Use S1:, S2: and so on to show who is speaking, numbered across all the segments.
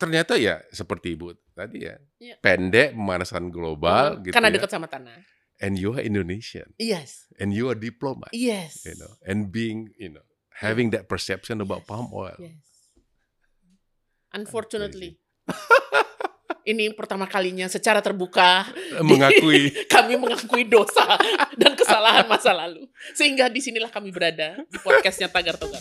S1: ternyata ya seperti ibu tadi ya
S2: Iya.
S1: pendek pemanasan global gitu
S2: Oh, Karena
S1: ya.
S2: dekat sama tanah.
S1: and you are Indonesian
S2: Yes.
S1: and you are
S2: Iya.
S1: diplomat
S2: Yes.
S1: you know and being you know
S2: Iya.
S1: having that perception about palm oil
S2: Yes. Unfortunately.
S1: gitu.
S2: Ini pertama kalinya secara terbuka
S1: Eh, mengakui
S2: kami mengakui dosa dan kesalahan masa lalu. Sehingga disinilah kami berada di podcastnya Tagar Togar.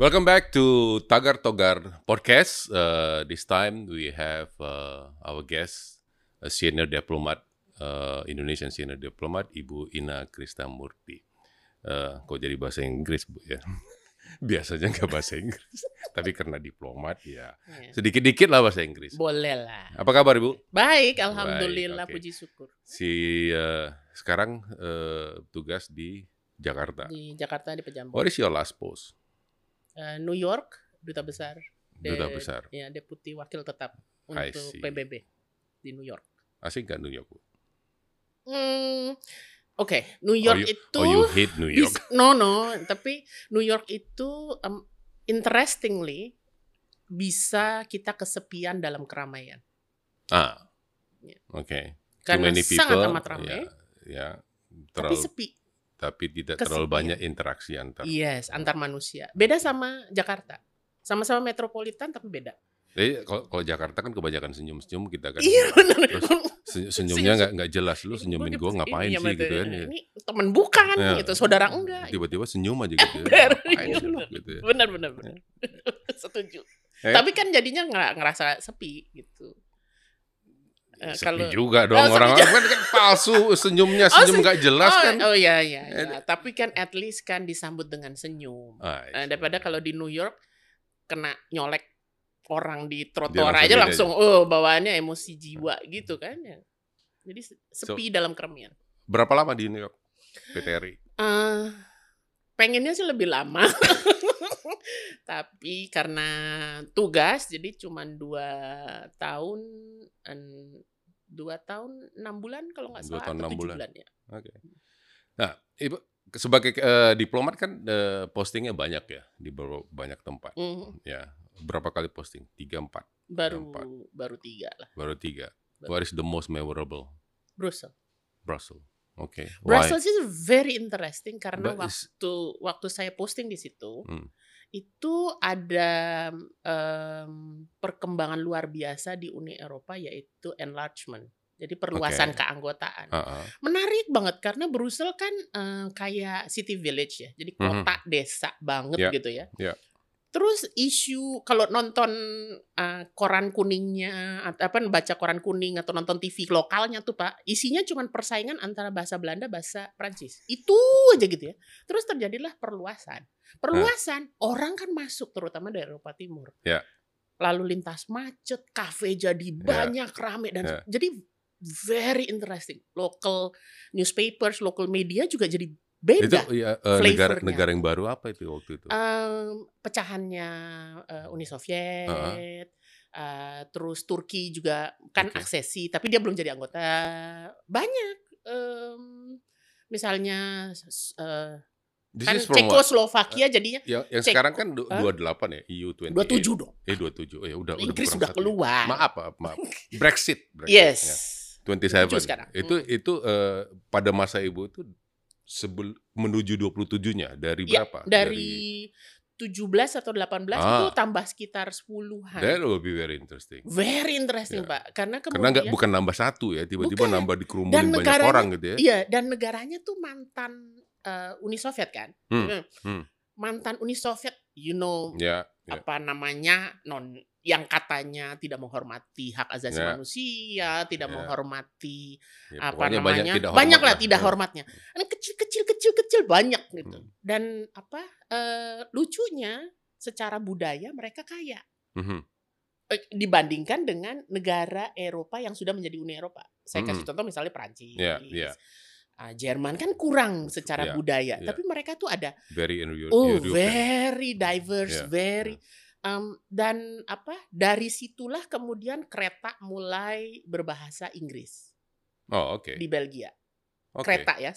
S1: Welcome back to Tagar Togar podcast. Uh, this time we have uh, our guest, a senior diplomat, uh, Indonesian senior diplomat, Ibu Ina Krisnamurti. Uh, kok jadi bahasa Inggris bu ya? Biasanya nggak bahasa Inggris, tapi karena diplomat ya
S2: Ya.
S1: sedikit-dikit lah bahasa Inggris.
S2: Boleh lah.
S1: Apa kabar ibu?
S2: Baik, alhamdulillah
S1: oke.
S2: puji syukur.
S1: Si uh, sekarang uh, tugas di Jakarta. Oh,
S2: Di Jakarta di Pejambon.
S1: What is your last post?
S2: Eh, New York, duta besar. De-
S1: Duta besar.
S2: Ya, deputi wakil tetap
S1: I
S2: untuk
S1: see.
S2: PBB di New York.
S1: Asik nggak New York? Bu?
S2: Hmm, Oke, New York itu
S1: Oh, you hate New
S2: Di-
S1: York?
S2: no no, tapi New York itu um, interestingly bisa kita kesepian dalam keramaian
S1: Ah,
S2: Ya.
S1: oke.
S2: karena
S1: Too many people,
S2: sangat amat ramai,
S1: Ya, ya.
S2: tapi ya.
S1: terlalu, tapi,
S2: sepi.
S1: tidak
S2: kesepian.
S1: terlalu banyak interaksi antar.
S2: Yes, antar manusia. Beda sama Jakarta. Sama-sama metropolitan tapi beda.
S1: Jadi kalau, kalau Jakarta kan kebanyakan senyum-senyum kita kan.
S2: Iya benar.
S1: Terus senyum- senyumnya nggak nggak jelas lu senyumin gue ngapain
S2: Iya,
S1: sih gitu
S2: betul.
S1: kan. ya.
S2: Ini temen bukan
S1: Ya.
S2: gitu, saudara enggak. iya,
S1: Tiba-tiba senyum aja gitu. ya.
S2: Ember.
S1: Ngapain sih lu gitu ya.
S2: Benar benar benar. Setuju.
S1: Eh.
S2: Tapi kan jadinya nggak ngerasa sepi gitu. Eh,
S1: Sepi
S2: kalau-
S1: juga dong
S2: Oh, sepi
S1: orang-orang kan, kan palsu senyumnya senyum
S2: senyum.
S1: nggak jelas
S2: oh,
S1: kan.
S2: Oh iya iya. iya.
S1: Eh,
S2: Tapi kan at least kan disambut dengan senyum.
S1: Ah,
S2: Nah, daripada kalau di New York kena nyolek orang di
S1: langsung
S2: trotoar
S1: beda
S2: aja
S1: aja.
S2: langsung oh bawaannya emosi jiwa gitu kan ya. Jadi se- sepi dalam keremian.
S1: berapa lama di New York? PTRI.
S2: Eh, pengennya sih lebih lama. Tapi karena tugas jadi cuma dua tahun en- dua tahun enam bulan kalau nggak
S1: Dua
S2: salah
S1: tahun,
S2: atau
S1: enam
S2: tujuh
S1: bulan.
S2: bulan ya.
S1: Oke. Nah, ibu sebagai eh, diplomat kan eh, postingnya banyak ya di ber- banyak tempat.
S2: Mhm,
S1: Ya, berapa kali posting? Tiga empat,
S2: baru
S1: Empat.
S2: baru tiga lah
S1: baru tiga.
S2: Betul.
S1: What is the most memorable?
S2: Brussels.
S1: Brussels. Oke. Why?
S2: Brussels is very interesting karena
S1: But is-
S2: waktu waktu saya posting di situ
S1: Hmm.
S2: itu ada em, perkembangan luar biasa di Uni Eropa yaitu enlargement. Jadi perluasan
S1: Oke.
S2: keanggotaan.
S1: Ah, ah.
S2: Menarik banget karena Brussel kan eh, kayak city village ya. Jadi
S1: Mhm.
S2: kota desa banget
S1: Ya,
S2: gitu ya.
S1: ya.
S2: Terus isu kalau nonton eh, koran kuningnya atau apa baca koran kuning atau nonton TV lokalnya tuh Pak, isinya cuman persaingan antara bahasa Belanda bahasa Prancis. Itu aja gitu ya. Terus terjadilah perluasan. Perluasan, orang kan masuk terutama dari Eropa Timur.
S1: Ya.
S2: Lalu lintas macet, kafe jadi
S1: Ya.
S2: banyak rame dan
S1: Ya.
S2: jadi very interesting. Local newspapers, local media juga jadi beda.
S1: Itu ya, eh, negara
S2: flavornya. Eh,
S1: negara yang baru apa itu waktu itu?
S2: Em, pecahannya eh, Uni Soviet,
S1: Heeh.
S2: eh, terus Turki juga kan
S1: Oke.
S2: aksesi, tapi dia belum jadi anggota. Banyak, em, misalnya s- eh,
S1: This
S2: kan
S1: is from what? Eh,
S2: Cekoslovakia jadinya
S1: Yang, yang
S2: Ceko.
S1: sekarang kan du-
S2: Hah?
S1: 28 ya, EU 28.
S2: 27 dong.
S1: Eh 27. Eh udah
S2: Inggris
S1: kurang
S2: sudah
S1: satu ya.
S2: keluar.
S1: Maaf, maaf, maaf. Brexit, Brexit.
S2: Ah. yes.
S1: ya. 27
S2: 27 sekarang. Hmm.
S1: Itu itu eh, pada masa ibu itu sebel, menuju 27-nya dari
S2: Ya,
S1: berapa?
S2: dari 17 atau 18 itu
S1: Ah.
S2: tambah sekitar 10-an.
S1: That will be very interesting.
S2: Very interesting,
S1: Ya.
S2: Pak. Karena
S1: Karena
S2: kemudian
S1: nggak bukan nambah satu ya, tiba-tiba
S2: Bukan.
S1: nambah dikerumunin
S2: Dan
S1: banyak
S2: negaranya-
S1: orang gitu ya.
S2: iya dan negaranya tuh mantan eh, Uni Soviet kan.
S1: Hmm, hmm.
S2: Mantan Uni Soviet, you know
S1: Ya, ya.
S2: apa namanya? non yang katanya tidak menghormati hak azasi
S1: Ya.
S2: manusia, tidak
S1: Ya.
S2: menghormati
S1: ya,
S2: apa
S1: pokoknya
S2: namanya?
S1: banyak
S2: Banyak,
S1: tidak
S2: lah
S1: hormat
S2: tidak
S1: Ya.
S2: hormatnya. Kan Ini kecil-kecil kecil-kecil banyak gitu.
S1: Hmm.
S2: Dan apa eh, lucunya secara budaya mereka kaya.
S1: Mhm.
S2: eh, dibandingkan dengan negara Eropa yang sudah menjadi Uni Eropa. Saya
S1: Mm-mm.
S2: kasih contoh misalnya Perancis,
S1: Iya, iya.
S2: Ah, Jerman kan kurang secara
S1: Iya,
S2: budaya,
S1: iya.
S2: tapi mereka tuh ada
S1: Very in
S2: oh very diverse,
S1: Iya,
S2: very Em, dan apa dari situlah kemudian kereta mulai berbahasa Inggris
S1: Oh, oke.
S2: di Belgia.
S1: Oke.
S2: Kereta ya,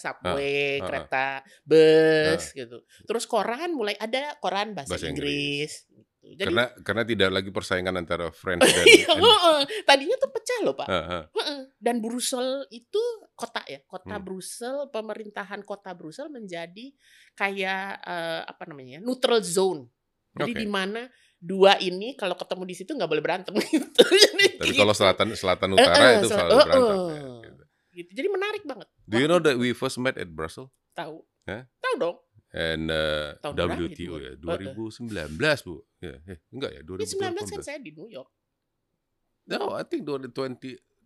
S1: Ah, ah,
S2: subway,
S1: ah.
S2: kereta, bus gitu. Terus koran mulai ada koran bahasa,
S1: Bahasa
S2: Inggris.
S1: Inggris.
S2: gitu. Jadi
S1: karena karena tidak lagi persaingan antara French dan
S2: Iya,
S1: and-
S2: heeh. tadinya tuh pecah loh pak.
S1: Heeh.
S2: Heeh. Dan Brussel itu kota ya, kota
S1: Hmm.
S2: Brussel, pemerintahan kota Brussel menjadi kayak eh, apa namanya ya, neutral zone. Jadi
S1: Oke.
S2: di mana dua ini kalau ketemu di situ nggak boleh berantem gitu. Jadi
S1: Tapi
S2: gitu.
S1: kalau selatan selatan
S2: Eh,
S1: utara
S2: eh,
S1: itu
S2: sel-
S1: selalu
S2: eh,
S1: berantem.
S2: eh.
S1: ya, gitu.
S2: Gitu. Jadi menarik banget.
S1: Do you know that we first met at Brussels
S2: Tahu?
S1: Hah?
S2: Tahu dong.
S1: and uh,
S2: Tahun berapa itu, Bu?
S1: WTO ya 2019 bu? Ya, eh, enggak ya
S2: Ini 19 kan
S1: 2019.
S2: saya di New York.
S1: No, I think 2020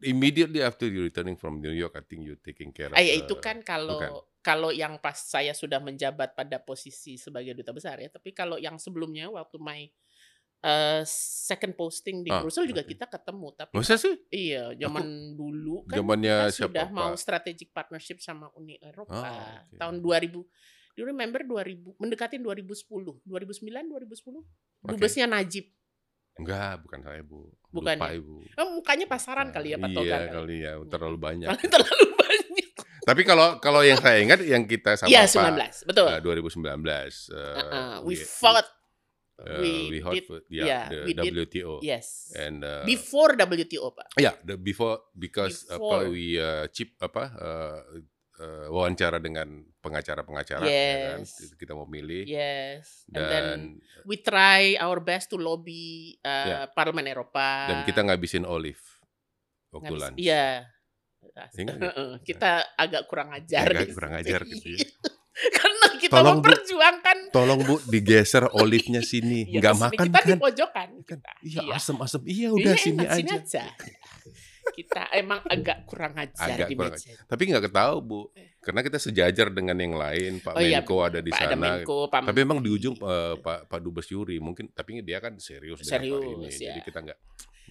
S1: immediately after you returning from New York, I think you taking care of.
S2: Ah, ya
S1: the-
S2: itu kan kalau
S1: Nah, eh, bukan.
S2: kalau yang pas saya sudah menjabat pada posisi sebagai duta besar ya, tapi kalau yang sebelumnya waktu my eh, second posting di
S1: Ah,
S2: Brussel juga
S1: oke.
S2: kita ketemu, tapi
S1: Masa sih?
S2: iya zaman dulu kan
S1: Zamannya
S2: kita
S1: eh,
S2: sudah
S1: siapa?
S2: mau
S1: Pak?
S2: strategic partnership sama Uni Eropa
S1: Ah, oke.
S2: tahun 2000. Do you remember 2000 mendekatin 2010, 2009, 2010?
S1: Oke.
S2: Dubesnya Najib.
S1: Enggak, bukan saya bu.
S2: Bukan
S1: Lupa,
S2: ya?
S1: ibu.
S2: Oh, mukanya pasaran kali ya
S1: Iya
S2: Pak Togar.
S1: kali ya, terlalu banyak.
S2: Kali terlalu banyak.
S1: Tapi kalau kalau yang saya ingat yang kita sama
S2: Iya,
S1: Pak
S2: 19. Betul.
S1: eh, 2019. eh,
S2: Uh-uh,
S1: we-
S2: we fought.
S1: eh,
S2: we,
S1: we, fought
S2: did,
S1: for- yeah,
S2: yeah,
S1: the
S2: we did-
S1: WTO
S2: yes.
S1: and uh,
S2: Before WTO, Pak.
S1: yeah, Ya, the before because
S2: Before.
S1: apa we uh, chip apa uh, uh, wawancara dengan pengacara-pengacara ya kan?
S2: Yes.
S1: kita mau milih
S2: Yes. And
S1: dan Ya.
S2: then we try our best to lobby uh, Parlemen Eropa.
S1: dan kita ngabisin olive waktu
S2: uh, Ngabis-
S1: lunch.
S2: Iya.
S1: Ingat nggak?
S2: Heeh, kita agak kurang ajar.
S1: Agak
S2: di
S1: kurang
S2: situ.
S1: ajar gitu ya.
S2: Karena kita
S1: Tolong, Bu.
S2: memperjuangkan
S1: Tolong Bu digeser olive-nya sini.
S2: Iya,
S1: Nggak
S2: terus
S1: makan
S2: kita
S1: kan?
S2: di pojokan.
S1: Kan,
S2: Kita.
S1: Iya,
S2: Iya.
S1: asem-asem. Iya, udah
S2: Iya,
S1: sini
S2: enak,
S1: aja.
S2: kita emang agak kurang ajar
S1: Agak
S2: di
S1: kurang
S2: meja.
S1: Tapi nggak ketahu, Bu. Karena kita sejajar dengan yang lain, Pak
S2: Eh. Oh iya,
S1: Menko ada di
S2: Pak ada
S1: sana.
S2: Menko, Hmm. Pak
S1: Tapi emang di ujung eh, Pak Pak Dubes Yuri mungkin tapi dia kan serius, dengan hal
S2: Serius,
S1: ini.
S2: ya.
S1: Jadi kita nggak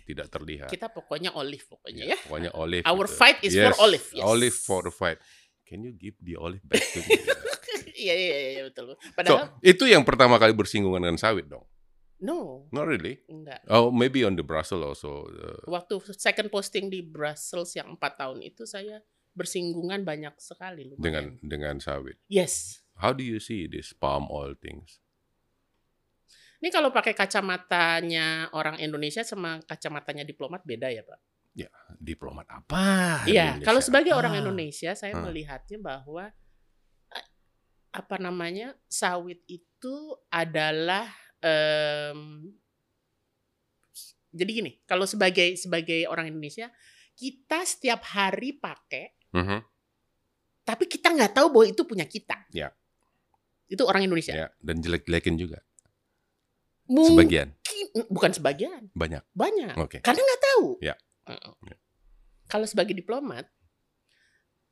S1: tidak terlihat.
S2: kita pokoknya olive pokoknya ya.
S1: Ya, Pokoknya olive.
S2: Our
S1: gitu.
S2: fight is for
S1: Yes,
S2: olive, yes.
S1: Olive for the fight. Can you give the olive back to me?
S2: Iya iya iya, iya
S1: so,
S2: betul. Padahal
S1: itu yang pertama kali bersinggungan dengan sawit dong.
S2: no,
S1: Not really.
S2: enggak.
S1: Oh, maybe on the Brussels also. uh,
S2: Waktu second posting di Brussels yang empat tahun itu saya bersinggungan banyak sekali lumayan.
S1: dengan dengan sawit.
S2: yes.
S1: How do you see this palm oil things?
S2: Ini kalau pakai kacamatanya orang Indonesia sama kacamatanya diplomat beda ya, Pak.
S1: Diplomat apa? Ah,
S2: Iya,
S1: Indonesia
S2: kalau sebagai
S1: apa?
S2: orang Indonesia saya
S1: Ah.
S2: melihatnya bahwa eh, apa namanya? sawit itu adalah em, jadi gini, kalau sebagai sebagai orang Indonesia kita setiap hari pakai
S1: Mhm.
S2: tapi kita nggak tahu bahwa itu punya kita.
S1: Ya.
S2: Itu orang Indonesia.
S1: Ya, dan jelek-jelekin juga.
S2: Mungkin
S1: Sebagian,
S2: bukan sebagian,
S1: banyak.
S2: banyak.
S1: Oke.
S2: Karena nggak tahu.
S1: Ya.
S2: Heeh.
S1: Ya.
S2: Kalau sebagai diplomat,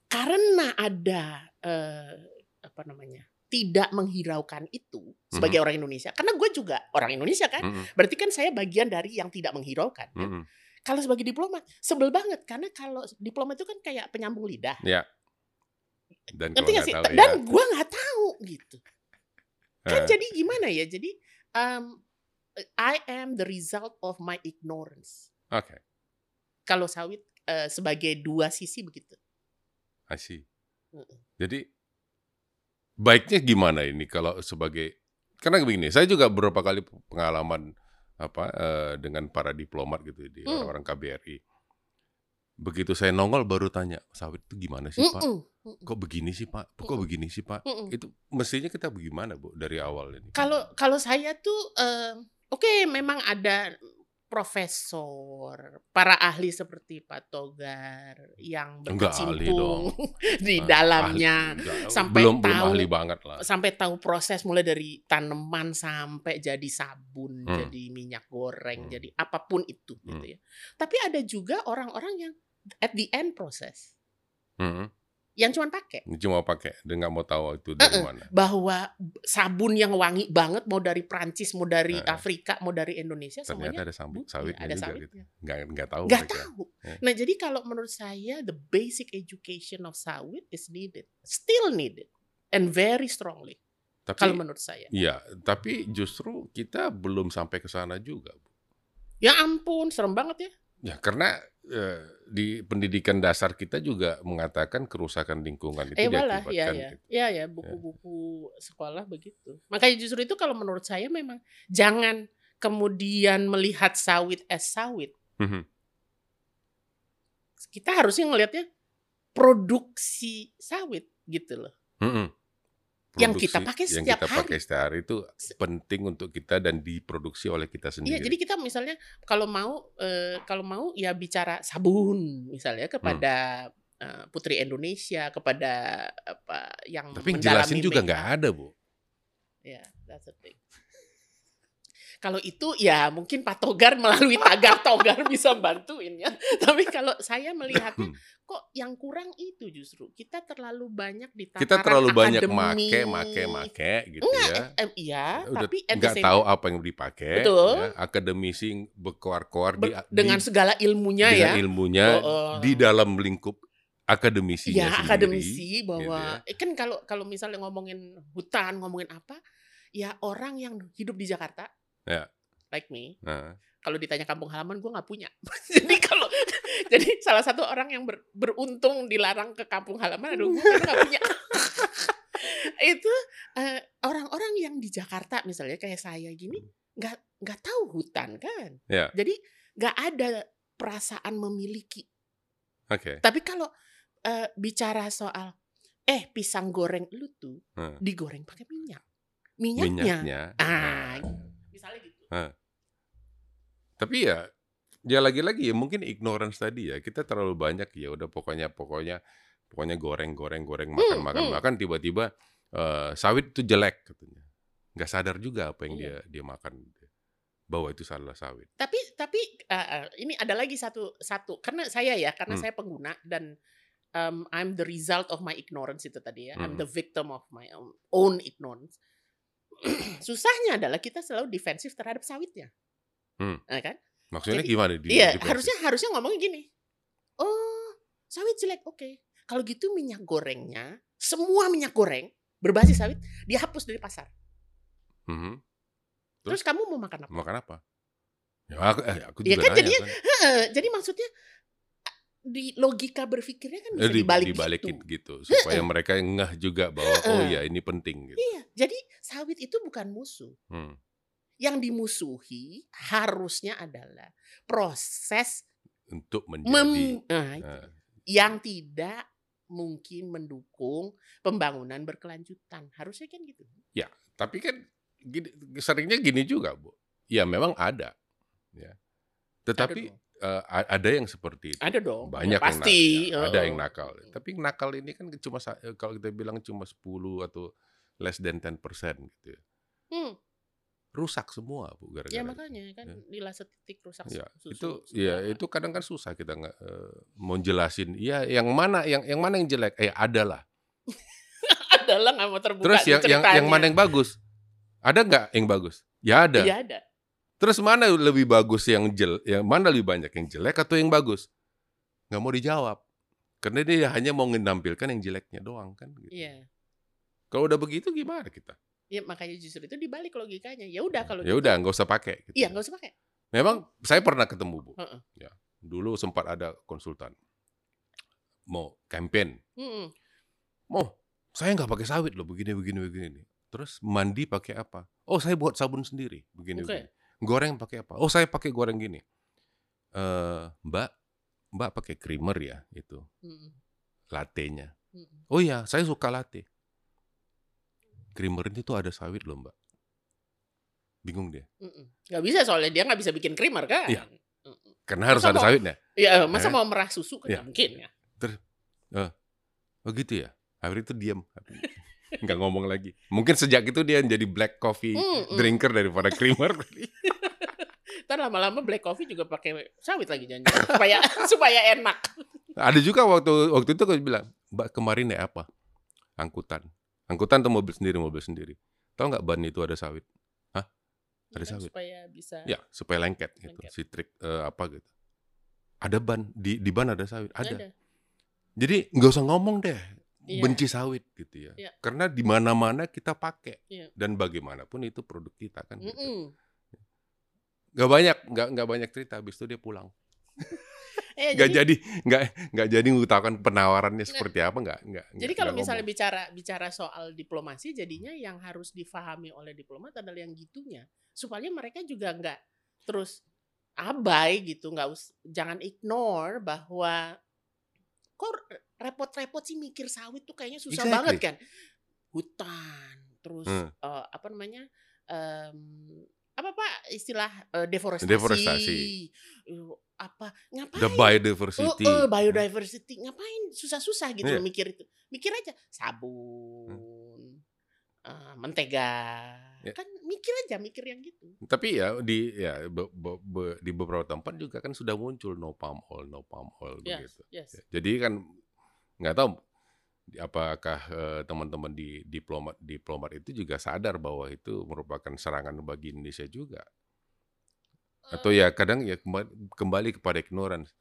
S2: karena ada eh, apa namanya tidak menghiraukan itu sebagai orang Indonesia. Karena gue juga orang Indonesia kan.
S1: Mhm,
S2: Berarti kan saya bagian dari yang tidak menghiraukan. kan?
S1: mhm.
S2: Kalau sebagai diplomat, sebel banget karena kalau diplomat itu kan kayak penyambung lidah.
S1: Dan kalau
S2: Ngerti gak
S1: nggak
S2: sih?
S1: tahu ya.
S2: Dan gue nggak tahu gitu. kan
S1: eh,
S2: jadi gimana ya jadi um, I am the result of my ignorance
S1: Oke,
S2: kalau sawit eh, sebagai dua sisi begitu
S1: I see.
S2: Mm-mm.
S1: Jadi baiknya gimana ini kalau sebagai karena begini, saya juga beberapa kali pengalaman apa eh, dengan para diplomat gitu di
S2: Hmm.
S1: orang-orang KBRI. Begitu saya nongol baru tanya, sawit itu gimana sih, Pak?
S2: Mm-mm, mm-mm,
S1: Kok begini sih, Pak? Kok
S2: Mm-mm.
S1: begini sih, Pak?
S2: mm-mm.
S1: Itu mestinya kita bagaimana, Bu, dari awal ini?
S2: kalau kalau saya tuh eh, oke memang ada profesor para ahli seperti Pak Togar yang
S1: Enggak ahli Ah,
S2: berkecimpung di dalamnya
S1: Ahli- enggak,
S2: sampai
S1: belum belum
S2: tahu-
S1: ahli banget lah.
S2: sampai tahu proses mulai dari tanaman sampai jadi sabun,
S1: Hmm.
S2: jadi minyak goreng,
S1: Hmm.
S2: jadi apapun itu gitu ya. Tapi ada juga orang-orang yang at the end proses
S1: Mhm.
S2: yang cuman pakai
S1: Cuma pakai, dia nggak mau tahu itu dari
S2: Eh, eh.
S1: mana.
S2: bahwa sabun yang wangi banget mau dari Prancis, mau dari
S1: Eh, eh.
S2: Afrika, mau dari Indonesia
S1: Ternyata
S2: semuanya
S1: ada sambut,
S2: bukti,
S1: sawitnya
S2: ada
S1: juga
S2: sawitnya.
S1: gitu. Nggak, nggak tahu
S2: Nggak
S1: mereka.
S2: tahu.
S1: Eh.
S2: Nah, jadi kalau menurut saya the basic education of sawit is needed, still needed and very strongly.
S1: Tapi
S2: kalau menurut saya.
S1: Iya, tapi justru kita belum sampai ke sana juga. Bu.
S2: Ya ampun, serem banget ya.
S1: Ya, karena eh, di pendidikan dasar kita juga mengatakan kerusakan lingkungan itu
S2: eh malah ya
S1: diakibatkan gitu.
S2: ya. Ya ya, buku-buku sekolah begitu. Makanya justru itu kalau menurut saya memang jangan kemudian melihat sawit as sawit.
S1: Mhm.
S2: Kita harusnya ngelihatnya produksi sawit gitu loh.
S1: Mhm.
S2: Yang kita pakai
S1: yang
S2: setiap
S1: kita
S2: hari.
S1: pakai setiap hari itu penting untuk kita dan diproduksi oleh kita
S2: Iya,
S1: sendiri.
S2: jadi kita misalnya kalau mau eh, kalau mau ya bicara sabun
S1: Hmm.
S2: misalnya kepada eh, putri Indonesia, kepada apa yang
S1: tapi yang jelasin
S2: mendalami
S1: juga
S2: make
S1: nggak ada, Bu.
S2: Ya, that's the thing. kalau itu ya mungkin Pak Togar melalui tagar Togar bisa bantuin ya. Tapi kalau saya melihatnya
S1: Hmm.
S2: kok yang kurang itu justru kita terlalu banyak di tataran
S1: Kita terlalu banyak
S2: akademi.
S1: make, make, make gitu
S2: Enggak,
S1: ya.
S2: eh, iya,
S1: Udah
S2: tapi at the
S1: nggak
S2: same
S1: tahu apa yang dipakai.
S2: Betul.
S1: ya. Akademisi berkoar-koar di,
S2: ber- dengan
S1: di-
S2: segala ilmunya ya.
S1: dengan ilmunya
S2: Oh, oh.
S1: di dalam lingkup akademisinya
S2: ya
S1: sendiri.
S2: akademisi bahwa
S1: ya.
S2: eh, kan kalau kalau misalnya ngomongin hutan ngomongin apa ya orang yang hidup di Jakarta
S1: Ya.
S2: like me
S1: Nah,
S2: kalau ditanya kampung halaman gue nggak punya jadi kalau jadi salah satu orang yang ber- beruntung dilarang ke kampung halaman aduh gue nggak punya itu eh, orang-orang yang di Jakarta misalnya kayak saya gini nggak nggak tahu hutan kan
S1: Ya.
S2: jadi nggak ada perasaan memiliki
S1: oke.
S2: tapi kalau eh, bicara soal eh pisang goreng lu tuh
S1: Hmm.
S2: digoreng pakai minyak. Minyaknya.
S1: Minyaknya. Nah,
S2: Ah, misalnya gitu.
S1: Tapi ya ya lagi-lagi ya mungkin ignorance tadi ya. Kita terlalu banyak ya udah pokoknya pokoknya pokoknya goreng goreng goreng makan
S2: Hmm,
S1: makan
S2: hmm.
S1: makan tiba-tiba eh, sawit itu jelek katanya. Nggak sadar juga apa yang
S2: Iya.
S1: dia dia makan bahwa itu salah sawit.
S2: Tapi tapi eh, eh, ini ada lagi satu satu karena saya ya karena
S1: Hmm.
S2: saya pengguna dan um, I'm the result of my ignorance itu tadi ya. I'm
S1: Hmm.
S2: the victim of my own- own ignorance. Susahnya adalah kita selalu defensif terhadap sawitnya.
S1: Hmm.
S2: Nah, kan?
S1: Maksudnya
S2: Jadi-
S1: gimana di
S2: Iya,
S1: di proses?
S2: harusnya harusnya ngomongnya gini. Oh, sawit jelek. Oke. Kalau gitu minyak gorengnya, semua minyak goreng berbasis sawit dihapus dari pasar.
S1: Mhm.
S2: Terus, kamu mau makan apa?
S1: Makan apa? Ya aku, eh, aku
S2: Iya
S1: juga
S2: kan,
S1: nanya
S2: jadinya
S1: kan.
S2: Heeh, jadi maksudnya di logika berpikirnya kan
S1: Eh,
S2: bisa
S1: di-
S2: dibalik
S1: dibalikin
S2: gitu.
S1: gitu supaya mereka ngeh juga bahwa oh
S2: Heeh.
S1: ya ini penting gitu.
S2: Iya, jadi sawit itu bukan musuh.
S1: Hmm.
S2: Yang dimusuhi harusnya adalah proses
S1: Untuk menjadi
S2: mem Nah, itu.
S1: eh,
S2: yang tidak mungkin mendukung pembangunan berkelanjutan. Harusnya kan gitu.
S1: Tapi kan gini, seringnya gini juga, Bu. Ya memang ada, ya. Tetapi
S2: dong.
S1: eh, a- ada yang seperti itu.
S2: ada dong.
S1: Banyak
S2: Ya, pasti.
S1: yang nakal. ya. Ada yang
S2: Heeh.
S1: nakal. Tapi nakal ini kan cuma sa- eh, kalau kita bilang cuma 10 atau less than 10% gitu ya.
S2: Hmm,
S1: Rusak semua, Bu, gara-gara.
S2: ya
S1: itu.
S2: makanya kan
S1: Ya.
S2: nila setitik rusak
S1: Ya,
S2: susu.
S1: itu
S2: segala
S1: ya
S2: macam.
S1: itu kadang kan susah kita nggak eh, mau jelasin iya yang mana yang yang mana yang jelek eh ada lah
S2: adalah nggak mau terbuka.
S1: terus
S2: nih
S1: yang yang yang
S2: ceritanya.
S1: mana yang bagus ada nggak yang bagus ya ada
S2: Iya ada.
S1: Terus mana lebih bagus yang jel, yang mana lebih banyak yang jelek atau yang bagus? Nggak mau dijawab. Karena dia hanya mau menampilkan yang jeleknya doang kan. gitu.
S2: Iya.
S1: Kalau udah begitu gimana kita?
S2: Ya makanya justru itu dibalik logikanya. Ya udah kalau
S1: Ya
S2: gitu.
S1: udah nggak usah pakai. gitu.
S2: Iya nggak usah pakai.
S1: Memang saya pernah ketemu bu.
S2: Heeh.
S1: Ya dulu sempat ada konsultan mau campaign.
S2: Mm-mm.
S1: Oh saya nggak pakai sawit loh begini begini begini. Terus mandi pakai apa? Oh saya buat sabun sendiri begini
S2: Oke.
S1: begini. Goreng pakai apa? Oh saya pakai goreng gini. Eh mbak mbak pakai creamer ya itu.
S2: Mm-mm.
S1: latenya.
S2: Mm-mm.
S1: Oh iya, saya suka latte. Creamer itu ada sawit loh mbak. Bingung dia.
S2: Mm-mm. Nggak bisa soalnya dia nggak bisa bikin creamer kan.
S1: Iya.
S2: Iya.
S1: Karena harus
S2: Masa
S1: ada
S2: mau-
S1: sawitnya.
S2: Ya
S1: Eh.
S2: masa mau merah susu kan
S1: Iya.
S2: nggak mungkin ya.
S1: Oh gitu ya. Akhirnya itu diam. Nggak ngomong lagi. Mungkin sejak itu dia jadi black coffee
S2: Mm, mm.
S1: drinker daripada creamer.
S2: Ntar lama-lama black coffee juga pakai sawit lagi jangan supaya supaya enak.
S1: ada juga waktu waktu itu aku bilang, mbak kemarin naik apa? Angkutan. Angkutan atau mobil sendiri, mobil sendiri. Tahu nggak ban itu ada sawit? Ada
S2: Kan
S1: sawit.
S2: Supaya bisa.
S1: Ya, supaya lengket gitu.
S2: Lengket.
S1: Citrik eh, apa gitu. Ada ban di di ban ada sawit. Ada.
S2: Ada.
S1: Jadi nggak usah ngomong deh.
S2: Iya.
S1: benci sawit gitu ya.
S2: Iya.
S1: Karena di mana-mana kita pakai
S2: Iya.
S1: dan bagaimanapun itu produk kita kan. gitu.
S2: Mm-mm.
S1: Nggak banyak, nggak nggak banyak cerita. Habis itu dia pulang.
S2: Eh,
S1: Nggak
S2: jadi, Nah.
S1: jadi, nggak nggak jadi ngutakan penawarannya seperti apa nggak nggak.
S2: jadi
S1: nggak-
S2: kalau
S1: nggak
S2: misalnya
S1: ngomong.
S2: bicara bicara soal diplomasi, jadinya yang harus difahami oleh diplomat adalah yang gitunya, supaya mereka juga nggak terus abai gitu, nggak us- jangan ignore bahwa kok repot-repot sih mikir sawit tuh kayaknya susah
S1: Exactly.
S2: banget kan, hutan, terus
S1: Hmm.
S2: eh, apa namanya? em, apa pak istilah eh, deforestasi,
S1: Deforestasi.
S2: Eh, apa ngapain
S1: the biodiversity,
S2: Uh, biodiversity ngapain susah-susah gitu
S1: Hmm. Iya. Hmm.
S2: loh mikir itu. Mikir aja sabun, eh, mentega.
S1: Ya.
S2: Kan mikir aja, mikir yang gitu.
S1: Tapi ya di ya be- be- be- di beberapa tempat juga kan sudah muncul no palm oil, no palm oil
S2: Yes,
S1: begitu.
S2: yes.
S1: Jadi kan nggak tahu apakah eh, teman-teman di diplomat diplomat itu juga sadar bahwa itu merupakan serangan bagi Indonesia juga.
S2: Eh,
S1: Atau ya kadang ya kemba- kembali kepada ignorance,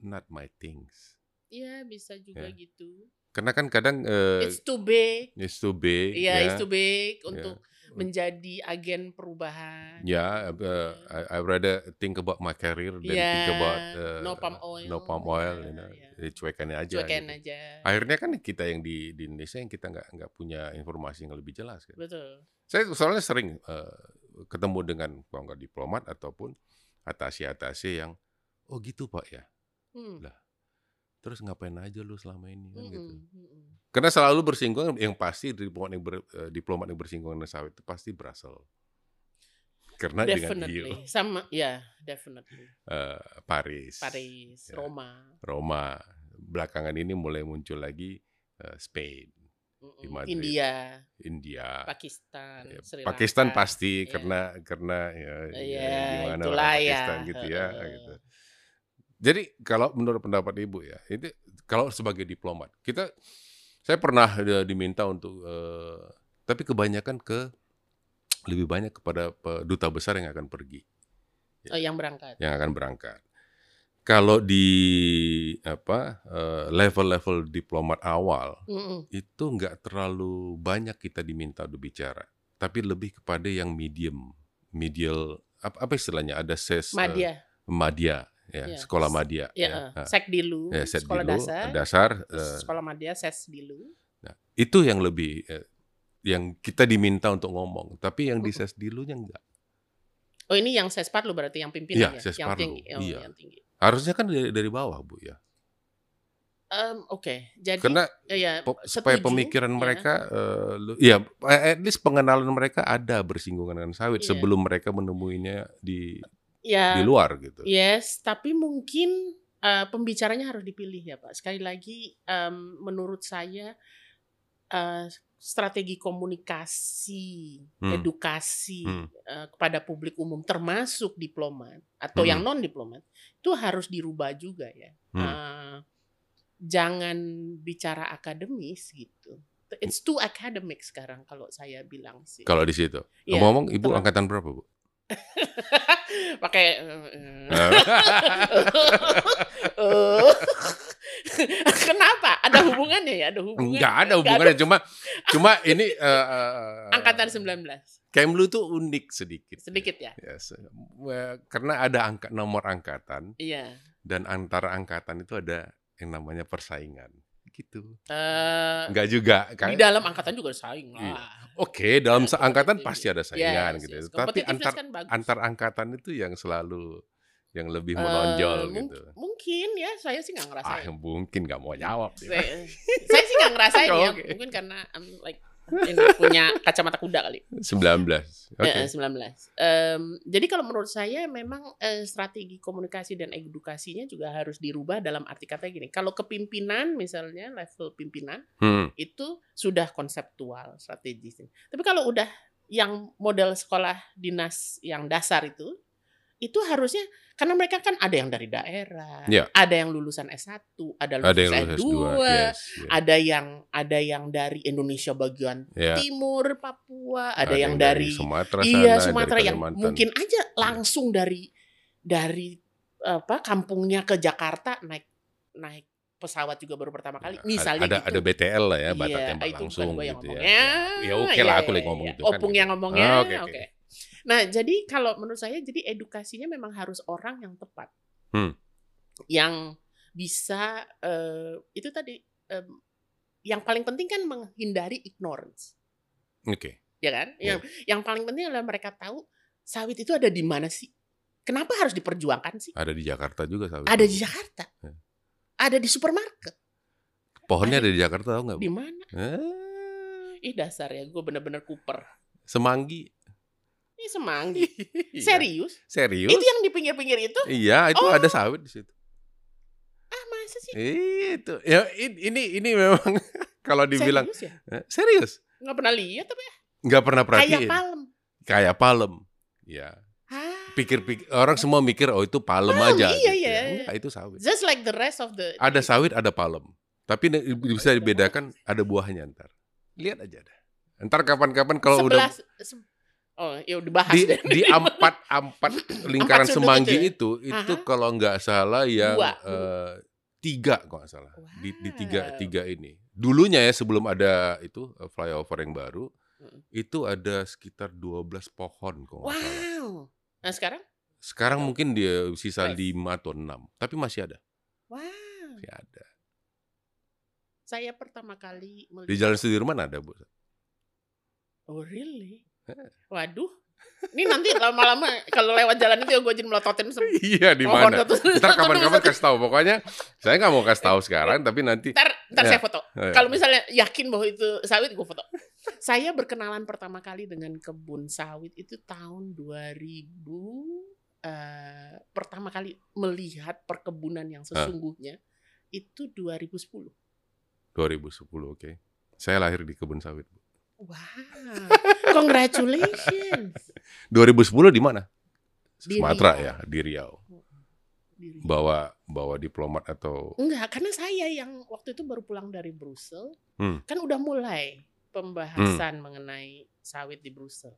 S1: not my things.
S2: Iya, bisa juga gitu.
S1: Karena kan kadang eh,
S2: It's too big.
S1: it's too big,
S2: Iya,
S1: ya.
S2: it's too big
S1: ya.
S2: untuk menjadi agen perubahan.
S1: Ya, uh, I, I rather think about my career than think
S2: Yeah,
S1: about uh,
S2: Iya. no palm oil.
S1: no palm oil, you
S2: Yeah,
S1: know.
S2: yeah.
S1: Jadi cuekannya aja.
S2: Cuekin
S1: gitu.
S2: aja.
S1: Akhirnya kan kita yang di, di Indonesia yang kita nggak nggak punya informasi yang lebih jelas. Kan.
S2: Betul.
S1: Saya soalnya sering uh, ketemu dengan kalau nggak diplomat ataupun atasi-atasi yang oh gitu pak ya.
S2: Hmm.
S1: Terus ngapain aja lu selama ini kan gitu.
S2: Mm-mm, mm-mm.
S1: Karena selalu bersinggungan yang pasti diplomat yang, ber- eh, diplomat yang bersinggungan dengan sawit itu pasti berasal. Karena dengan yield,
S2: Definitely. Sama, ya, definitely.
S1: eh, Paris.
S2: Paris,
S1: Ya.
S2: Roma.
S1: Roma. Belakangan ini mulai muncul lagi eh, Spain,
S2: Mm-mm.
S1: Di Madrid.
S2: India,
S1: India,
S2: Pakistan,
S1: ya,
S2: Sri
S1: Pakistan
S2: Lanka.
S1: pasti
S2: Iya.
S1: karena karena ya, ya, gimana
S2: Iya,
S1: orang
S2: itulah ya.
S1: Pakistan gitu ya.
S2: Heeh.
S1: gitu. Jadi kalau menurut pendapat ibu ya, itu kalau sebagai diplomat kita, saya pernah eh, diminta untuk, eh, tapi kebanyakan ke lebih banyak kepada eh, duta besar yang akan pergi. Iya.
S2: Oh, yang berangkat.
S1: yang akan berangkat. Kalau di apa eh, level-level diplomat awal
S2: Mm-mm.
S1: itu nggak terlalu banyak kita diminta untuk bicara, tapi lebih kepada yang medium, medial apa, apa istilahnya ada ses eh,
S2: Madya,
S1: madya, ya,
S2: Iya.
S1: sekolah madya,
S2: ya, eh,
S1: Nah,
S2: Sekdilu,
S1: ya, set
S2: sekolah
S1: dulu,
S2: dasar,
S1: dasar
S2: terus
S1: eh,
S2: sekolah madya, sesdilu.
S1: itu yang lebih eh, yang kita diminta untuk ngomong, tapi yang di
S2: Mm-mm.
S1: ses dilunya enggak.
S2: Oh, ini yang sespat lu berarti yang pimpinan
S1: Iya,
S2: ya, yang
S1: sespat lu,
S2: tinggi, oh,
S1: iya.
S2: yang tinggi.
S1: Harusnya kan dari, dari bawah bu ya,
S2: Em, Oke, jadi
S1: karena
S2: eh, ya,
S1: Po-
S2: setuju,
S1: supaya pemikiran
S2: ya.
S1: mereka eh, lu- ya at least pengenalan mereka ada bersinggungan dengan sawit
S2: Iya.
S1: sebelum mereka menemuinya di
S2: ya,
S1: di luar gitu.
S2: Yes, tapi mungkin eh, pembicaranya harus dipilih ya Pak. Sekali lagi em, menurut saya eh, strategi komunikasi,
S1: Hmm.
S2: edukasi
S1: Hmm.
S2: eh, kepada publik umum termasuk diplomat atau
S1: Hmm.
S2: yang non diplomat itu harus dirubah juga ya.
S1: Hmm.
S2: Eh, jangan bicara akademis gitu. It's too academic sekarang kalau saya bilang sih.
S1: Kalau di situ.
S2: Iya,
S1: Ngomong Ibu
S2: terlalu-
S1: angkatan berapa, Bu? Eh,
S2: Pakai eh, eh. Eh. Kenapa? Ada hubungannya ya? Ada hubungannya?
S1: Enggak ada hubungannya cuma cuma ini eh, eh,
S2: Angkatan 19.
S1: Kemlu tuh unik sedikit.
S2: Sedikit ya?
S1: Yes. Eh, Karena ada angka nomor angkatan
S2: Iya.
S1: dan antara angkatan itu ada yang namanya persaingan. Gitu.
S2: Eh,
S1: Enggak juga kan.
S2: di dalam angkatan juga ada saing lah.
S1: Iya. Oke, dalam
S2: Ya,
S1: seangkatan
S2: kompetitif.
S1: pasti ada saingan
S2: Yes,
S1: gitu.
S2: yes.
S1: Tapi
S2: Competitiveness
S1: antar
S2: kan bagus.
S1: antar angkatan itu yang selalu yang lebih
S2: Eh,
S1: menonjol
S2: mung-
S1: gitu.
S2: Mungkin ya, saya sih
S1: Ah,
S2: nggak ngerasain.
S1: mungkin nggak mau jawab.
S2: saya,
S1: Ya.
S2: saya sih nggak ngerasain ya.
S1: Oh, Oke.
S2: Mungkin karena I'm like ini punya kacamata kuda kali.
S1: 19. Oke.
S2: Eh, eh, 19. Em, jadi kalau menurut saya memang eh, strategi komunikasi dan edukasinya juga harus dirubah dalam arti kata gini. Kalau kepimpinan misalnya level pimpinan
S1: Hmm.
S2: itu sudah konseptual strategis. Tapi kalau udah yang model sekolah dinas yang dasar itu itu harusnya karena mereka kan ada yang dari daerah,
S1: Ya.
S2: ada yang lulusan S1, ada lulusan ya,
S1: Ada yang lulus
S2: S2,
S1: S2. Yes. yes.
S2: ada yang ada yang dari Indonesia bagian
S1: Ya,
S2: timur, Papua, ada, yang, dari
S1: Sumatera
S2: iya
S1: sana,
S2: Sumatera
S1: dari
S2: yang
S1: Kalimantan.
S2: mungkin aja langsung dari dari apa kampungnya ke Jakarta naik naik pesawat juga baru pertama kali.
S1: Ya,
S2: Misalnya
S1: ada
S2: gitu.
S1: ada BTL lah ya, Batak
S2: Iya,
S1: tembak
S2: itu bukan
S1: langsung
S2: gua yang
S1: gitu ya.
S2: ngomong.
S1: Ya oke lah, aku lagi ngomong gitu kan
S2: iya. Opung
S1: gitu.
S2: yang ngomongnya.
S1: Ah, oke,
S2: oke.
S1: oke.
S2: Nah, jadi kalau menurut saya jadi edukasinya memang harus orang yang tepat.
S1: Hmm.
S2: Yang bisa eh, itu tadi em, yang paling penting kan menghindari ignorance,
S1: Oke.
S2: ya kan?
S1: Iya.
S2: Yang yang paling penting adalah mereka tahu sawit itu ada di mana sih? Kenapa harus diperjuangkan sih?
S1: Ada di Jakarta juga sawit.
S2: Ada di Jakarta.
S1: Ya.
S2: Ada di supermarket.
S1: Pohonnya ada di Jakarta tau nggak? Bu?
S2: Di mana?
S1: Eh,
S2: Ih dasar ya, gue bener-bener kuper.
S1: semanggi.
S2: Ini semanggi.
S1: Iya.
S2: Serius?
S1: Serius?
S2: Itu yang di pinggir-pinggir itu?
S1: Iya, itu
S2: Oh.
S1: ada sawit di situ.
S2: Ah, masa sih?
S1: Itu. Ya i- ini ini memang kalau dibilang
S2: Serius ya?
S1: Eh, serius,
S2: Nggak pernah lihat tapi
S1: nggak pernah
S2: kayak
S1: perhatiin.
S2: palem.
S1: Kayak palem. Ya,
S2: Ah.
S1: pikir-pikir orang semua mikir oh itu palem
S2: Palem,
S1: aja.
S2: iya,
S1: gitu
S2: iya,
S1: ya.
S2: iya.
S1: Enggak, itu sawit.
S2: Just like the rest of the
S1: Ada sawit, ada palem. Tapi ne- bisa dibedakan ada buahnya ntar. Lihat aja dah. Ntar kapan-kapan kalau udah
S2: sebelah se- Oh, ya udah bahas
S1: di
S2: deh.
S1: di empat empat lingkaran
S2: Empat sudut
S1: semanggi itu itu,
S2: ya? Aha.
S1: kalau nggak salah yang
S2: Dua. Ah.
S1: eh, tiga kalau nggak salah di, di tiga
S2: Wow.
S1: tiga ini dulunya ya sebelum ada itu eh, flyover yang baru
S2: Mm.
S1: itu ada sekitar 12 pohon kalau nggak salah
S2: Wow. Nah, sekarang?
S1: sekarang mungkin dia sisa
S2: Nice.
S1: lima atau enam tapi masih ada
S2: Wow.
S1: masih ada
S2: Saya pertama kali
S1: di
S2: melihat.
S1: jalan Sudirman ada bu
S2: Oh, really? Waduh. Ini nanti lama-lama kalau lewat jalan itu ya gue jadi melototin semua.
S1: iya di mana ntar kapan-kapan
S2: Ntar,
S1: kasih tahu pokoknya saya nggak mau kasih tahu sekarang tapi nanti
S2: ntar
S1: Ya.
S2: saya foto. Eh, Nah, Kalau misalnya yakin bahwa itu sawit, gue foto. Saya berkenalan pertama kali dengan kebun sawit itu tahun 2000. eh, pertama kali melihat perkebunan yang sesungguhnya itu 2010.
S1: 2010 oke saya lahir di kebun sawit
S2: Wow, congratulations.
S1: 2010 di mana?
S2: Di
S1: Sumatera
S2: Riau.
S1: ya, di Riau.
S2: Diri.
S1: Bawa bawa diplomat atau
S2: Enggak, karena saya yang waktu itu baru pulang dari Brussel,
S1: Hmm.
S2: kan udah mulai pembahasan mengenai sawit di Brussel.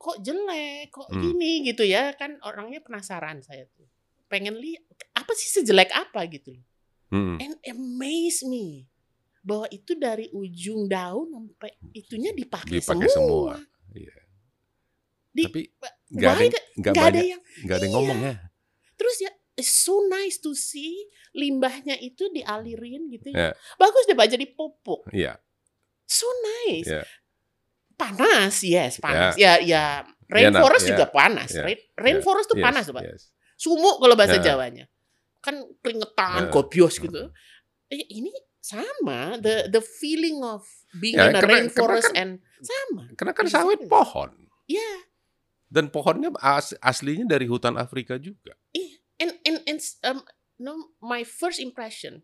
S2: Kok jelek, kok
S1: Hmm.
S2: gini gitu ya? Kan orangnya penasaran saya tuh. Pengen lihat apa sih sejelek apa gitu. loh.
S1: Mm-mm.
S2: And amaze me bahwa itu dari ujung daun sampai itunya dipakai,
S1: Dipakai semua.
S2: semua.
S1: Iya.
S2: Di-
S1: Tapi nggak
S2: Nggak
S1: ada
S2: ada,
S1: nggak
S2: nggak ada
S1: banyak
S2: yang
S1: nggak ada yang
S2: Iya.
S1: ngomong ya.
S2: Terus ya it's so nice to see limbahnya itu dialirin gitu
S1: Ya.
S2: ya. Bagus deh Pak jadi pupuk.
S1: Iya.
S2: So nice.
S1: Ya.
S2: Panas, yes, panas. Ya ya
S1: Ya,
S2: rainforest
S1: nah,
S2: juga panas.
S1: Ya.
S2: Rain- Rainforest tuh
S1: Yes,
S2: panas, Pak.
S1: yes.
S2: Sumuk kalau bahasa
S1: Iya. Ya.
S2: Jawanya. Kan
S1: Ya.
S2: keringetan,
S1: Hmm.
S2: gobios gitu. Eh, ini sama the the feeling of being
S1: Ya,
S2: in a
S1: karena-
S2: rainforest
S1: karena
S2: and sama.
S1: Karena kan
S2: Di
S1: sawit
S2: situ.
S1: pohon
S2: Ya,
S1: dan pohonnya as- aslinya dari hutan Afrika juga.
S2: Eh, and and and um, no, my first impression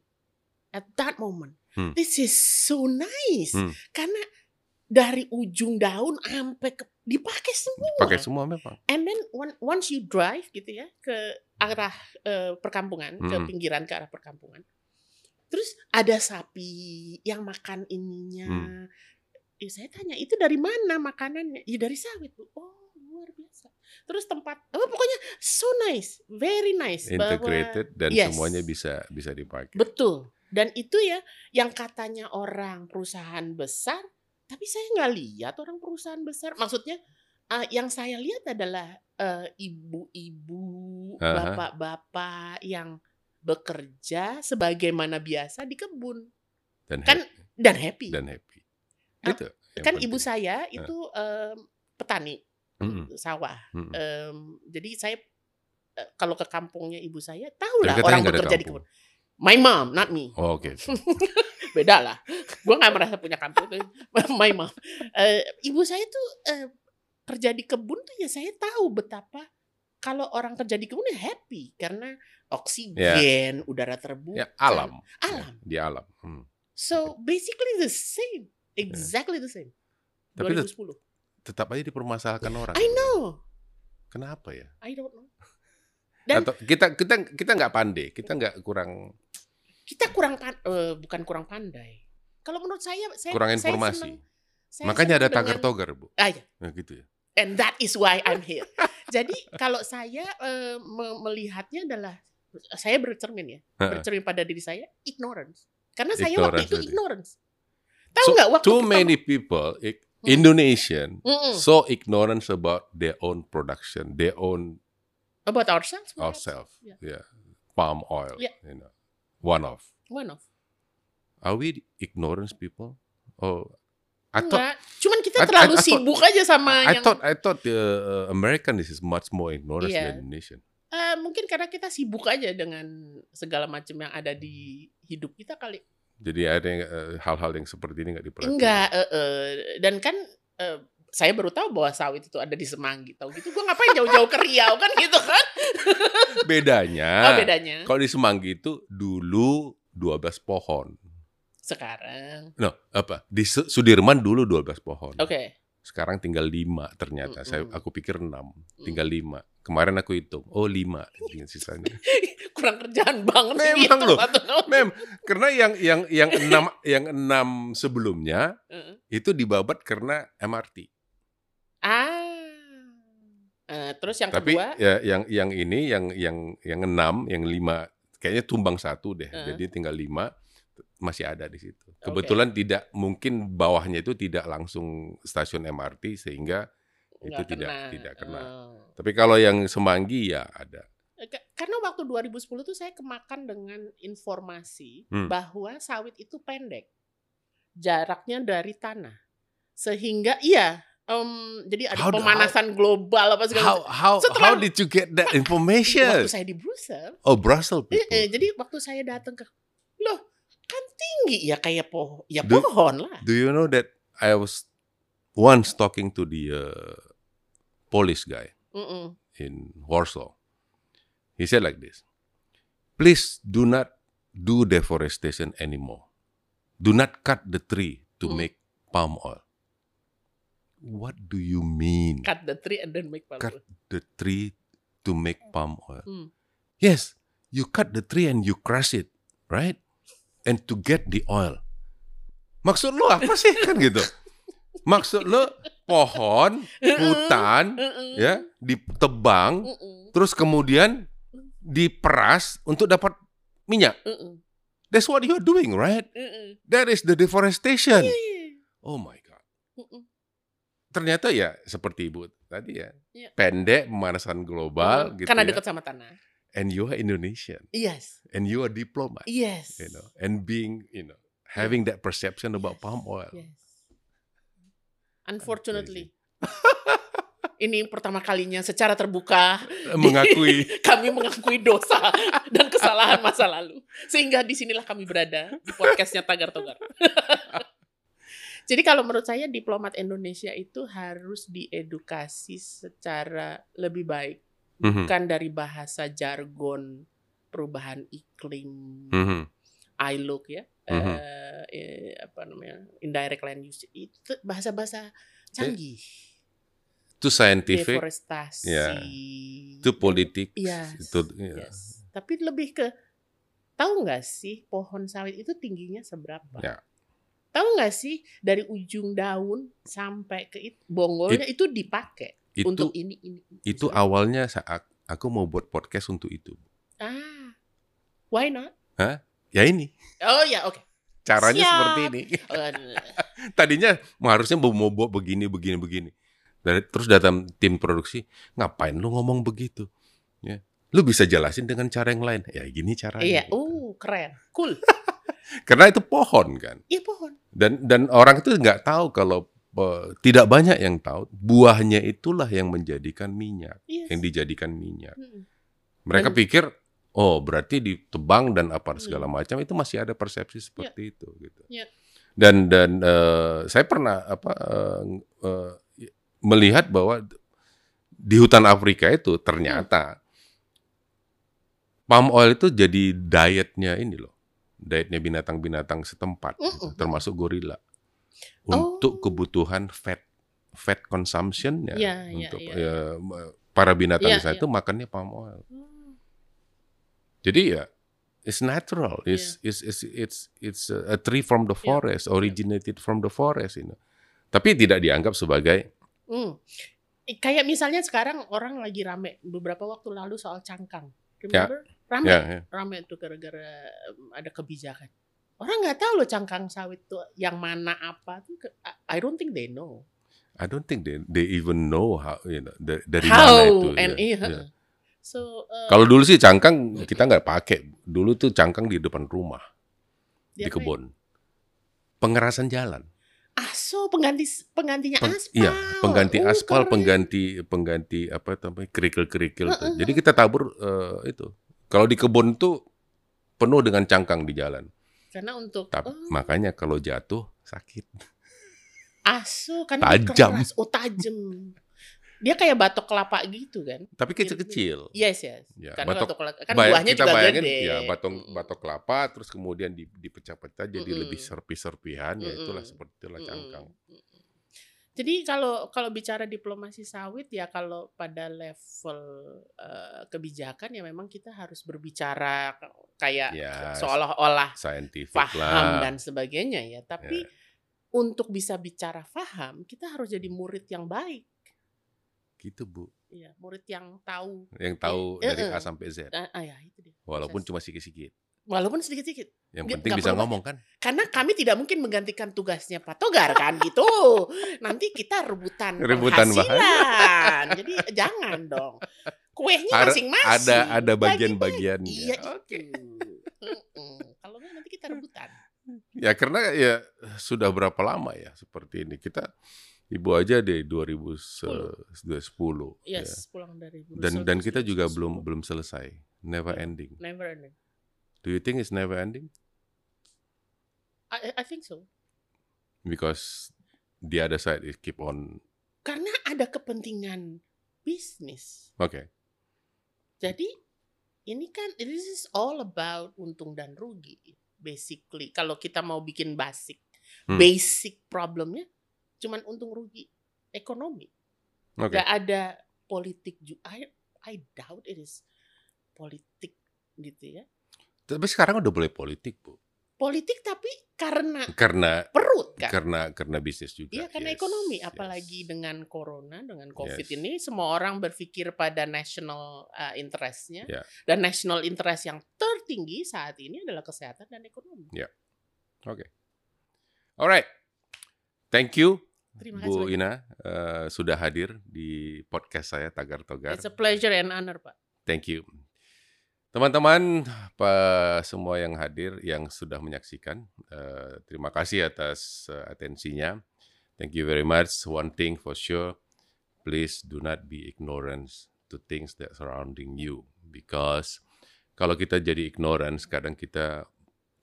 S2: at that moment,
S1: Hmm.
S2: this is so nice
S1: Hmm.
S2: karena dari ujung daun sampai ke, dipakai semua.
S1: Pakai semua memang.
S2: And then on- once you drive gitu ya ke arah eh, perkampungan, ke
S1: Hmm.
S2: pinggiran ke arah perkampungan, terus ada sapi yang makan ininya.
S1: Hmm.
S2: Eh, saya tanya itu dari mana makanannya? Ya dari sawit bu. Oh luar biasa. Terus tempat, oh, pokoknya so nice, very nice. bahwa-
S1: Integrated dan
S2: Yes.
S1: semuanya bisa bisa dipakai.
S2: Betul. Dan itu ya yang katanya orang perusahaan besar, tapi saya nggak lihat orang perusahaan besar. Maksudnya eh, yang saya lihat adalah eh, ibu-ibu,
S1: Aha.
S2: bapak-bapak yang bekerja sebagaimana biasa di kebun
S1: Dan
S2: Kan
S1: happy.
S2: dan happy.
S1: dan happy.
S2: Ah,
S1: Itu. yang
S2: kan
S1: penting.
S2: ibu saya itu em, petani
S1: Mm-mm.
S2: sawah.
S1: Mm-mm.
S2: Em, jadi saya eh, kalau ke kampungnya ibu saya, tahulah
S1: Tapi katanya
S2: orang
S1: nggak ada
S2: bekerja di
S1: kampung.
S2: kebun. My mom, not me.
S1: Oh, Oke.
S2: beda lah gue nggak merasa punya kampung tuh my mom Eh, ibu saya tuh eh, kerja di kebun tuh ya saya tahu betapa kalau orang kerja di kebun ya happy karena oksigen udara terbuka
S1: Ya alam.
S2: alam
S1: Ya, Di alam. Hmm.
S2: so basically the same exactly the same
S1: Tapi tet-
S2: 2010
S1: tetap aja dipermasalahkan orang.
S2: Iya, I know
S1: Kenapa ya?
S2: I don't know Dan-
S1: Atau kita kita kita nggak pandai, kita nggak kurang
S2: kita kurang pan- eh, bukan kurang pandai kalau menurut saya saya
S1: kurang
S2: saya
S1: informasi.
S2: senang- saya
S1: Makanya ada
S2: senang dengan-
S1: tagar-togar, Bu.
S2: Ah, iya.
S1: Nah, gitu ya.
S2: And that is why I'm here. Jadi kalau saya eh, me- melihatnya adalah saya bercermin ya,
S1: Ha-ha.
S2: bercermin pada diri saya ignorance. Karena saya
S1: Ignorance
S2: waktu itu
S1: tadi.
S2: ignorance.
S1: So,
S2: Tahu nggak waktu
S1: too
S2: pertama-
S1: many people, i-
S2: Hmm.
S1: Indonesian,
S2: Mm-mm.
S1: so ignorance about their own production, their own
S2: about ourselves? what else?
S1: ourselves.
S2: Yeah.
S1: Yeah. Palm oil,
S2: Yeah.
S1: you know, one off.
S2: One of.
S1: Are we ignorance people? Oh, I thought.
S2: Enggak. Cuman kita
S1: I- I-
S2: terlalu
S1: I thought-
S2: sibuk aja sama
S1: I
S2: yang
S1: thought I thought the uh, American is much more ignorance
S2: Yeah.
S1: than Indonesian.
S2: Eh, mungkin karena kita sibuk aja dengan segala macam yang ada di hidup kita kali.
S1: Jadi ada yang, uh, hal-hal yang seperti ini nggak diperhatikan.
S2: Enggak, eh, eh. dan kan eh, saya baru tahu bahwa sawit itu ada di Semanggi. Tahu gitu gua ngapain jauh-jauh ke Riau kan gitu kan.
S1: Bedanya.
S2: Oh, bedanya.
S1: Kalau di Semanggi itu dulu 12 pohon.
S2: Sekarang.
S1: No, apa? Di Su- Sudirman dulu 12 pohon.
S2: Oke.
S1: Sekarang tinggal 5 ternyata. Saya
S2: Mm-mm. Mm.
S1: aku pikir 6, tinggal 5. Kemarin aku hitung, oh 5 tinggal sisanya.
S2: Kurang kerjaan banget sih
S1: Memang
S2: gitu,
S1: loh.
S2: Pak Tunggal.
S1: Mem, karena yang yang yang 6 yang 6 sebelumnya
S2: Heeh.
S1: itu dibabat karena MRT.
S2: Ah. Eh, terus yang
S1: Tapi
S2: kedua,
S1: ya, yang yang ini yang yang yang 6, yang 5 kayaknya tumbang satu deh.
S2: Heeh.
S1: Jadi tinggal 5 masih ada di situ. Kebetulan tidak mungkin bawahnya itu tidak langsung stasiun MRT sehingga itu
S2: nggak
S1: tidak tidak kena.
S2: Eh.
S1: Tapi kalau yang Semanggi ya ada.
S2: Ka- Karena waktu 2010 tuh saya kemakan dengan informasi
S1: Hmm.
S2: bahwa sawit itu pendek jaraknya dari tanah, sehingga iya, em, jadi ada
S1: How do-
S2: pemanasan global apa segala
S1: How how how
S2: Setelah-
S1: did you get that
S2: macam. Waktu
S1: information?
S2: saya di Brussels,
S1: Oh, Brussels
S2: eh, eh,
S1: people.
S2: jadi waktu saya datang ke, loh kan tinggi ya kayak pohon, ya
S1: Do-
S2: pohon lah.
S1: Do you know that I was once talking to the uh, Polish guy
S2: Mm-mm.
S1: in Warsaw. He said like this. Please do not do deforestation anymore. Do not cut the tree to
S2: Hmm.
S1: make palm oil. What do you mean?
S2: Cut the tree and then make palm
S1: Cut.
S2: oil.
S1: the tree to make palm oil.
S2: Hmm.
S1: Yes, you cut the tree and you crush it, right? And to get the oil. Maksud lo apa sih kan gitu? Maksud lo pohon, hutan,
S2: Mm-mm.
S1: ya, ditebang,
S2: Mm-mm.
S1: terus kemudian diperas untuk dapat minyak.
S2: Mm-mm.
S1: That's what you're doing, right?
S2: Mm-mm.
S1: That is the deforestation.
S2: Iya.
S1: Oh my god.
S2: Mm-mm.
S1: Ternyata ya seperti ibu tadi ya,
S2: Iya.
S1: pendek pemanasan global gitu
S2: Oh, Karena
S1: ya.
S2: dekat sama tanah.
S1: And you are Indonesian.
S2: Yes,
S1: and you are diplomat,
S2: yes.
S1: you know, and being, you know, having that perception about palm oil.
S2: Yes. Unfortunately. Ini pertama kalinya secara terbuka
S1: Mengakui
S2: kami mengakui dosa dan kesalahan masa lalu. Sehingga disinilah kami berada di podcastnya Tagar Togar. Jadi kalau menurut saya diplomat Indonesia itu harus diedukasi secara lebih baik.
S1: Mhm,
S2: Bukan dari bahasa jargon perubahan iklim,
S1: mhm,
S2: ILOC ya,
S1: Mhm.
S2: eh, eh, apa namanya indirect land use itu bahasa-bahasa canggih,
S1: to scientific, ya.
S2: deforestasi,
S1: yeah. to iya. politics,
S2: Yes, Iya.
S1: to yeah.
S2: yes. Tapi lebih ke tahu nggak sih pohon sawit itu tingginya seberapa?
S1: Ya.
S2: Tahu nggak sih dari ujung daun sampai ke it- bonggolnya itu dipakai
S1: itu
S2: untuk ini ini. ini.
S1: itu awalnya saat aku mau buat podcast untuk itu.
S2: ah, why not?
S1: Ya ini
S2: Oh ya oke.
S1: caranya
S2: Siap.
S1: seperti ini.
S2: Eh,
S1: Ah, Tadinya mau- harusnya mau mau buat begini begini begini. Dan terus datang tim produksi, ngapain lu ngomong begitu? Ya. Lu bisa jelasin dengan cara yang lain. Ya gini caranya.
S2: Iya, oh keren, cool.
S1: Karena itu pohon kan.
S2: Iya pohon.
S1: dan dan orang itu nggak tahu kalau eh, tidak banyak yang tahu buahnya itulah yang menjadikan minyak
S2: Yes.
S1: yang dijadikan minyak
S2: Iya. Mm-mm.
S1: mereka
S2: Dan-
S1: pikir oh berarti ditebang dan apa segala macam itu masih ada persepsi seperti itu gitu
S2: Hmm. Ya.
S1: dan dan eh, saya pernah apa eh, eh, melihat bahwa di hutan Afrika itu
S2: Hmm.
S1: ternyata palm oil itu jadi dietnya ini loh dietnya binatang-binatang setempat gitu,
S2: Mm-mm.
S1: termasuk gorila
S2: Oh.
S1: untuk kebutuhan fat fat consumption ya
S2: Iya, iya,
S1: untuk
S2: iya.
S1: eh, m- para binatang
S2: Iya,
S1: di sana
S2: iya.
S1: itu makannya palm oil
S2: Oh.
S1: jadi ya it's natural
S2: Iya.
S1: it's it's it's it's it's a tree from the forest originated from the forest you know. tapi tidak dianggap sebagai
S2: Mm. Hmm. Eh, Kayak misalnya sekarang orang lagi rame beberapa waktu lalu soal cangkang. Remember? Rame,
S1: Ya, ya.
S2: rame tuh gara-gara em, ada kebijakan. Orang nggak tahu loh cangkang sawit tuh yang mana apa tuh. ke- I- I don't think they know.
S1: I don't think they they even know how you know da- dari mana itu.
S2: How
S1: ya.
S2: and iya,
S1: Ya.
S2: heeh. So eh,
S1: Kalau dulu sih cangkang kita nggak pakai. Dulu tuh cangkang di depan rumah
S2: dia
S1: di
S2: apa ya?
S1: kebun. Pengerasan jalan.
S2: Ah, so pengganti penggantinya
S1: Peng-
S2: aspal.
S1: iya, pengganti
S2: Oh,
S1: aspal,
S2: keren.
S1: pengganti pengganti apa namanya kerikil-kerikil
S2: Heeh,
S1: tuh. Jadi kita tabur eh, itu. Kalau di kebun tuh penuh dengan cangkang di jalan.
S2: Karena untuk
S1: Tapi
S2: oh,
S1: makanya kalau jatuh sakit.
S2: asu "Ah, karena dia
S1: Tajam.
S2: keras. Oh, tajam. Dia kayak batok kelapa gitu kan?
S1: Tapi kecil-kecil.
S2: Yes, yes.
S1: Ya,
S2: karena
S1: batok-
S2: batok kelapa Iya, kan
S1: Bay-
S2: buahnya
S1: kita
S2: juga
S1: bayangin
S2: gede. Hmm.
S1: ya batong
S2: Mm-mm.
S1: batok kelapa terus kemudian di- dipecah-pecah jadi
S2: Mm-mm.
S1: lebih serpi-serpihan ya itulah
S2: Mm-mm.
S1: seperti itulah
S2: Mm-mm.
S1: cangkang.
S2: Mm-mm. Jadi kalau kalau bicara diplomasi sawit ya kalau pada level eh, kebijakan ya memang kita harus berbicara kayak
S1: Ya,
S2: seolah-olah
S1: scientific
S2: paham
S1: lah.
S2: dan sebagainya ya. Tapi untuk bisa bicara paham, kita harus jadi murid yang baik,
S1: gitu, Bu.
S2: ya murid yang tahu.
S1: Yang tahu
S2: Eh,
S1: dari A
S2: eh.
S1: sampai Z.
S2: Ah, ah, ya, itu dia.
S1: Walaupun cuma sedikit-sedikit.
S2: Walaupun sedikit-sedikit,
S1: Yang
S2: Nggak-
S1: penting
S2: nggak
S1: bisa
S2: perlu
S1: ngomong kan?
S2: karena kami tidak mungkin menggantikan tugasnya Pak Togar kan gitu. Nanti kita rebutan,
S1: Rebutan bahan.
S2: penghasilan. Jadi jangan dong. Kuehnya
S1: Har-
S2: masing-masing.
S1: Ada ada Ya,
S2: Bagi-bagi.
S1: bagian-bagiannya.
S2: Iya
S1: Oke.
S2: itu. Mm-mm. Kalau nggak nanti kita rebutan. iya.
S1: Ya karena ya sudah berapa lama ya seperti ini. Kita Ibu aja deh 2010. ya.
S2: Yes, pulang dari Brussels
S1: Dan dan kita
S2: terus
S1: juga
S2: terus
S1: belum
S2: pulang.
S1: belum selesai. Never
S2: Iya.
S1: ending.
S2: Never ending.
S1: Do you think it's never ending?
S2: I, I think so.
S1: Because the other side is keep on.
S2: Karena ada kepentingan bisnis.
S1: Oke.
S2: Jadi ini kan this is all about untung dan rugi basically. Kalau kita mau bikin basic
S1: Hmm.
S2: basic problemnya cuman untung rugi ekonomi.
S1: Oke.
S2: Gak ada politik juga. I, I doubt it is politik gitu ya.
S1: Tapi sekarang udah boleh politik, Bu.
S2: Politik tapi karena
S1: Karena
S2: perut kan.
S1: karena karena bisnis juga.
S2: Iya karena
S1: Yes,
S2: ekonomi,
S1: yes.
S2: apalagi dengan corona, dengan covid
S1: Yes.
S2: ini semua orang berpikir pada national uh, interestnya
S1: Ya.
S2: dan national interest yang tertinggi saat ini adalah kesehatan dan ekonomi.
S1: Alright. Thank you
S2: Terima kasih.
S1: Bu
S2: banyak.
S1: Ina eh, sudah hadir di podcast saya Tagar Togar.
S2: It's a pleasure and honor, Pak.
S1: Thank you. Teman-teman, Pak semua yang hadir yang sudah menyaksikan, eh, terima kasih atas eh, atensinya. Thank you very much. One thing for sure, please do not be ignorant to things that surrounding you because kalau kita jadi ignorant, kadang kita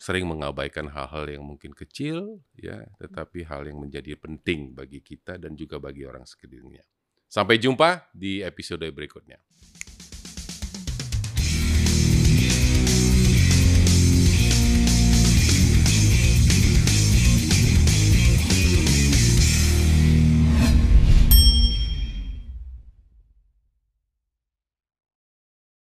S1: sering mengabaikan hal-hal yang mungkin kecil ya, tetapi hal yang menjadi penting bagi kita dan juga bagi orang sekelilingnya. Sampai jumpa di episode berikutnya.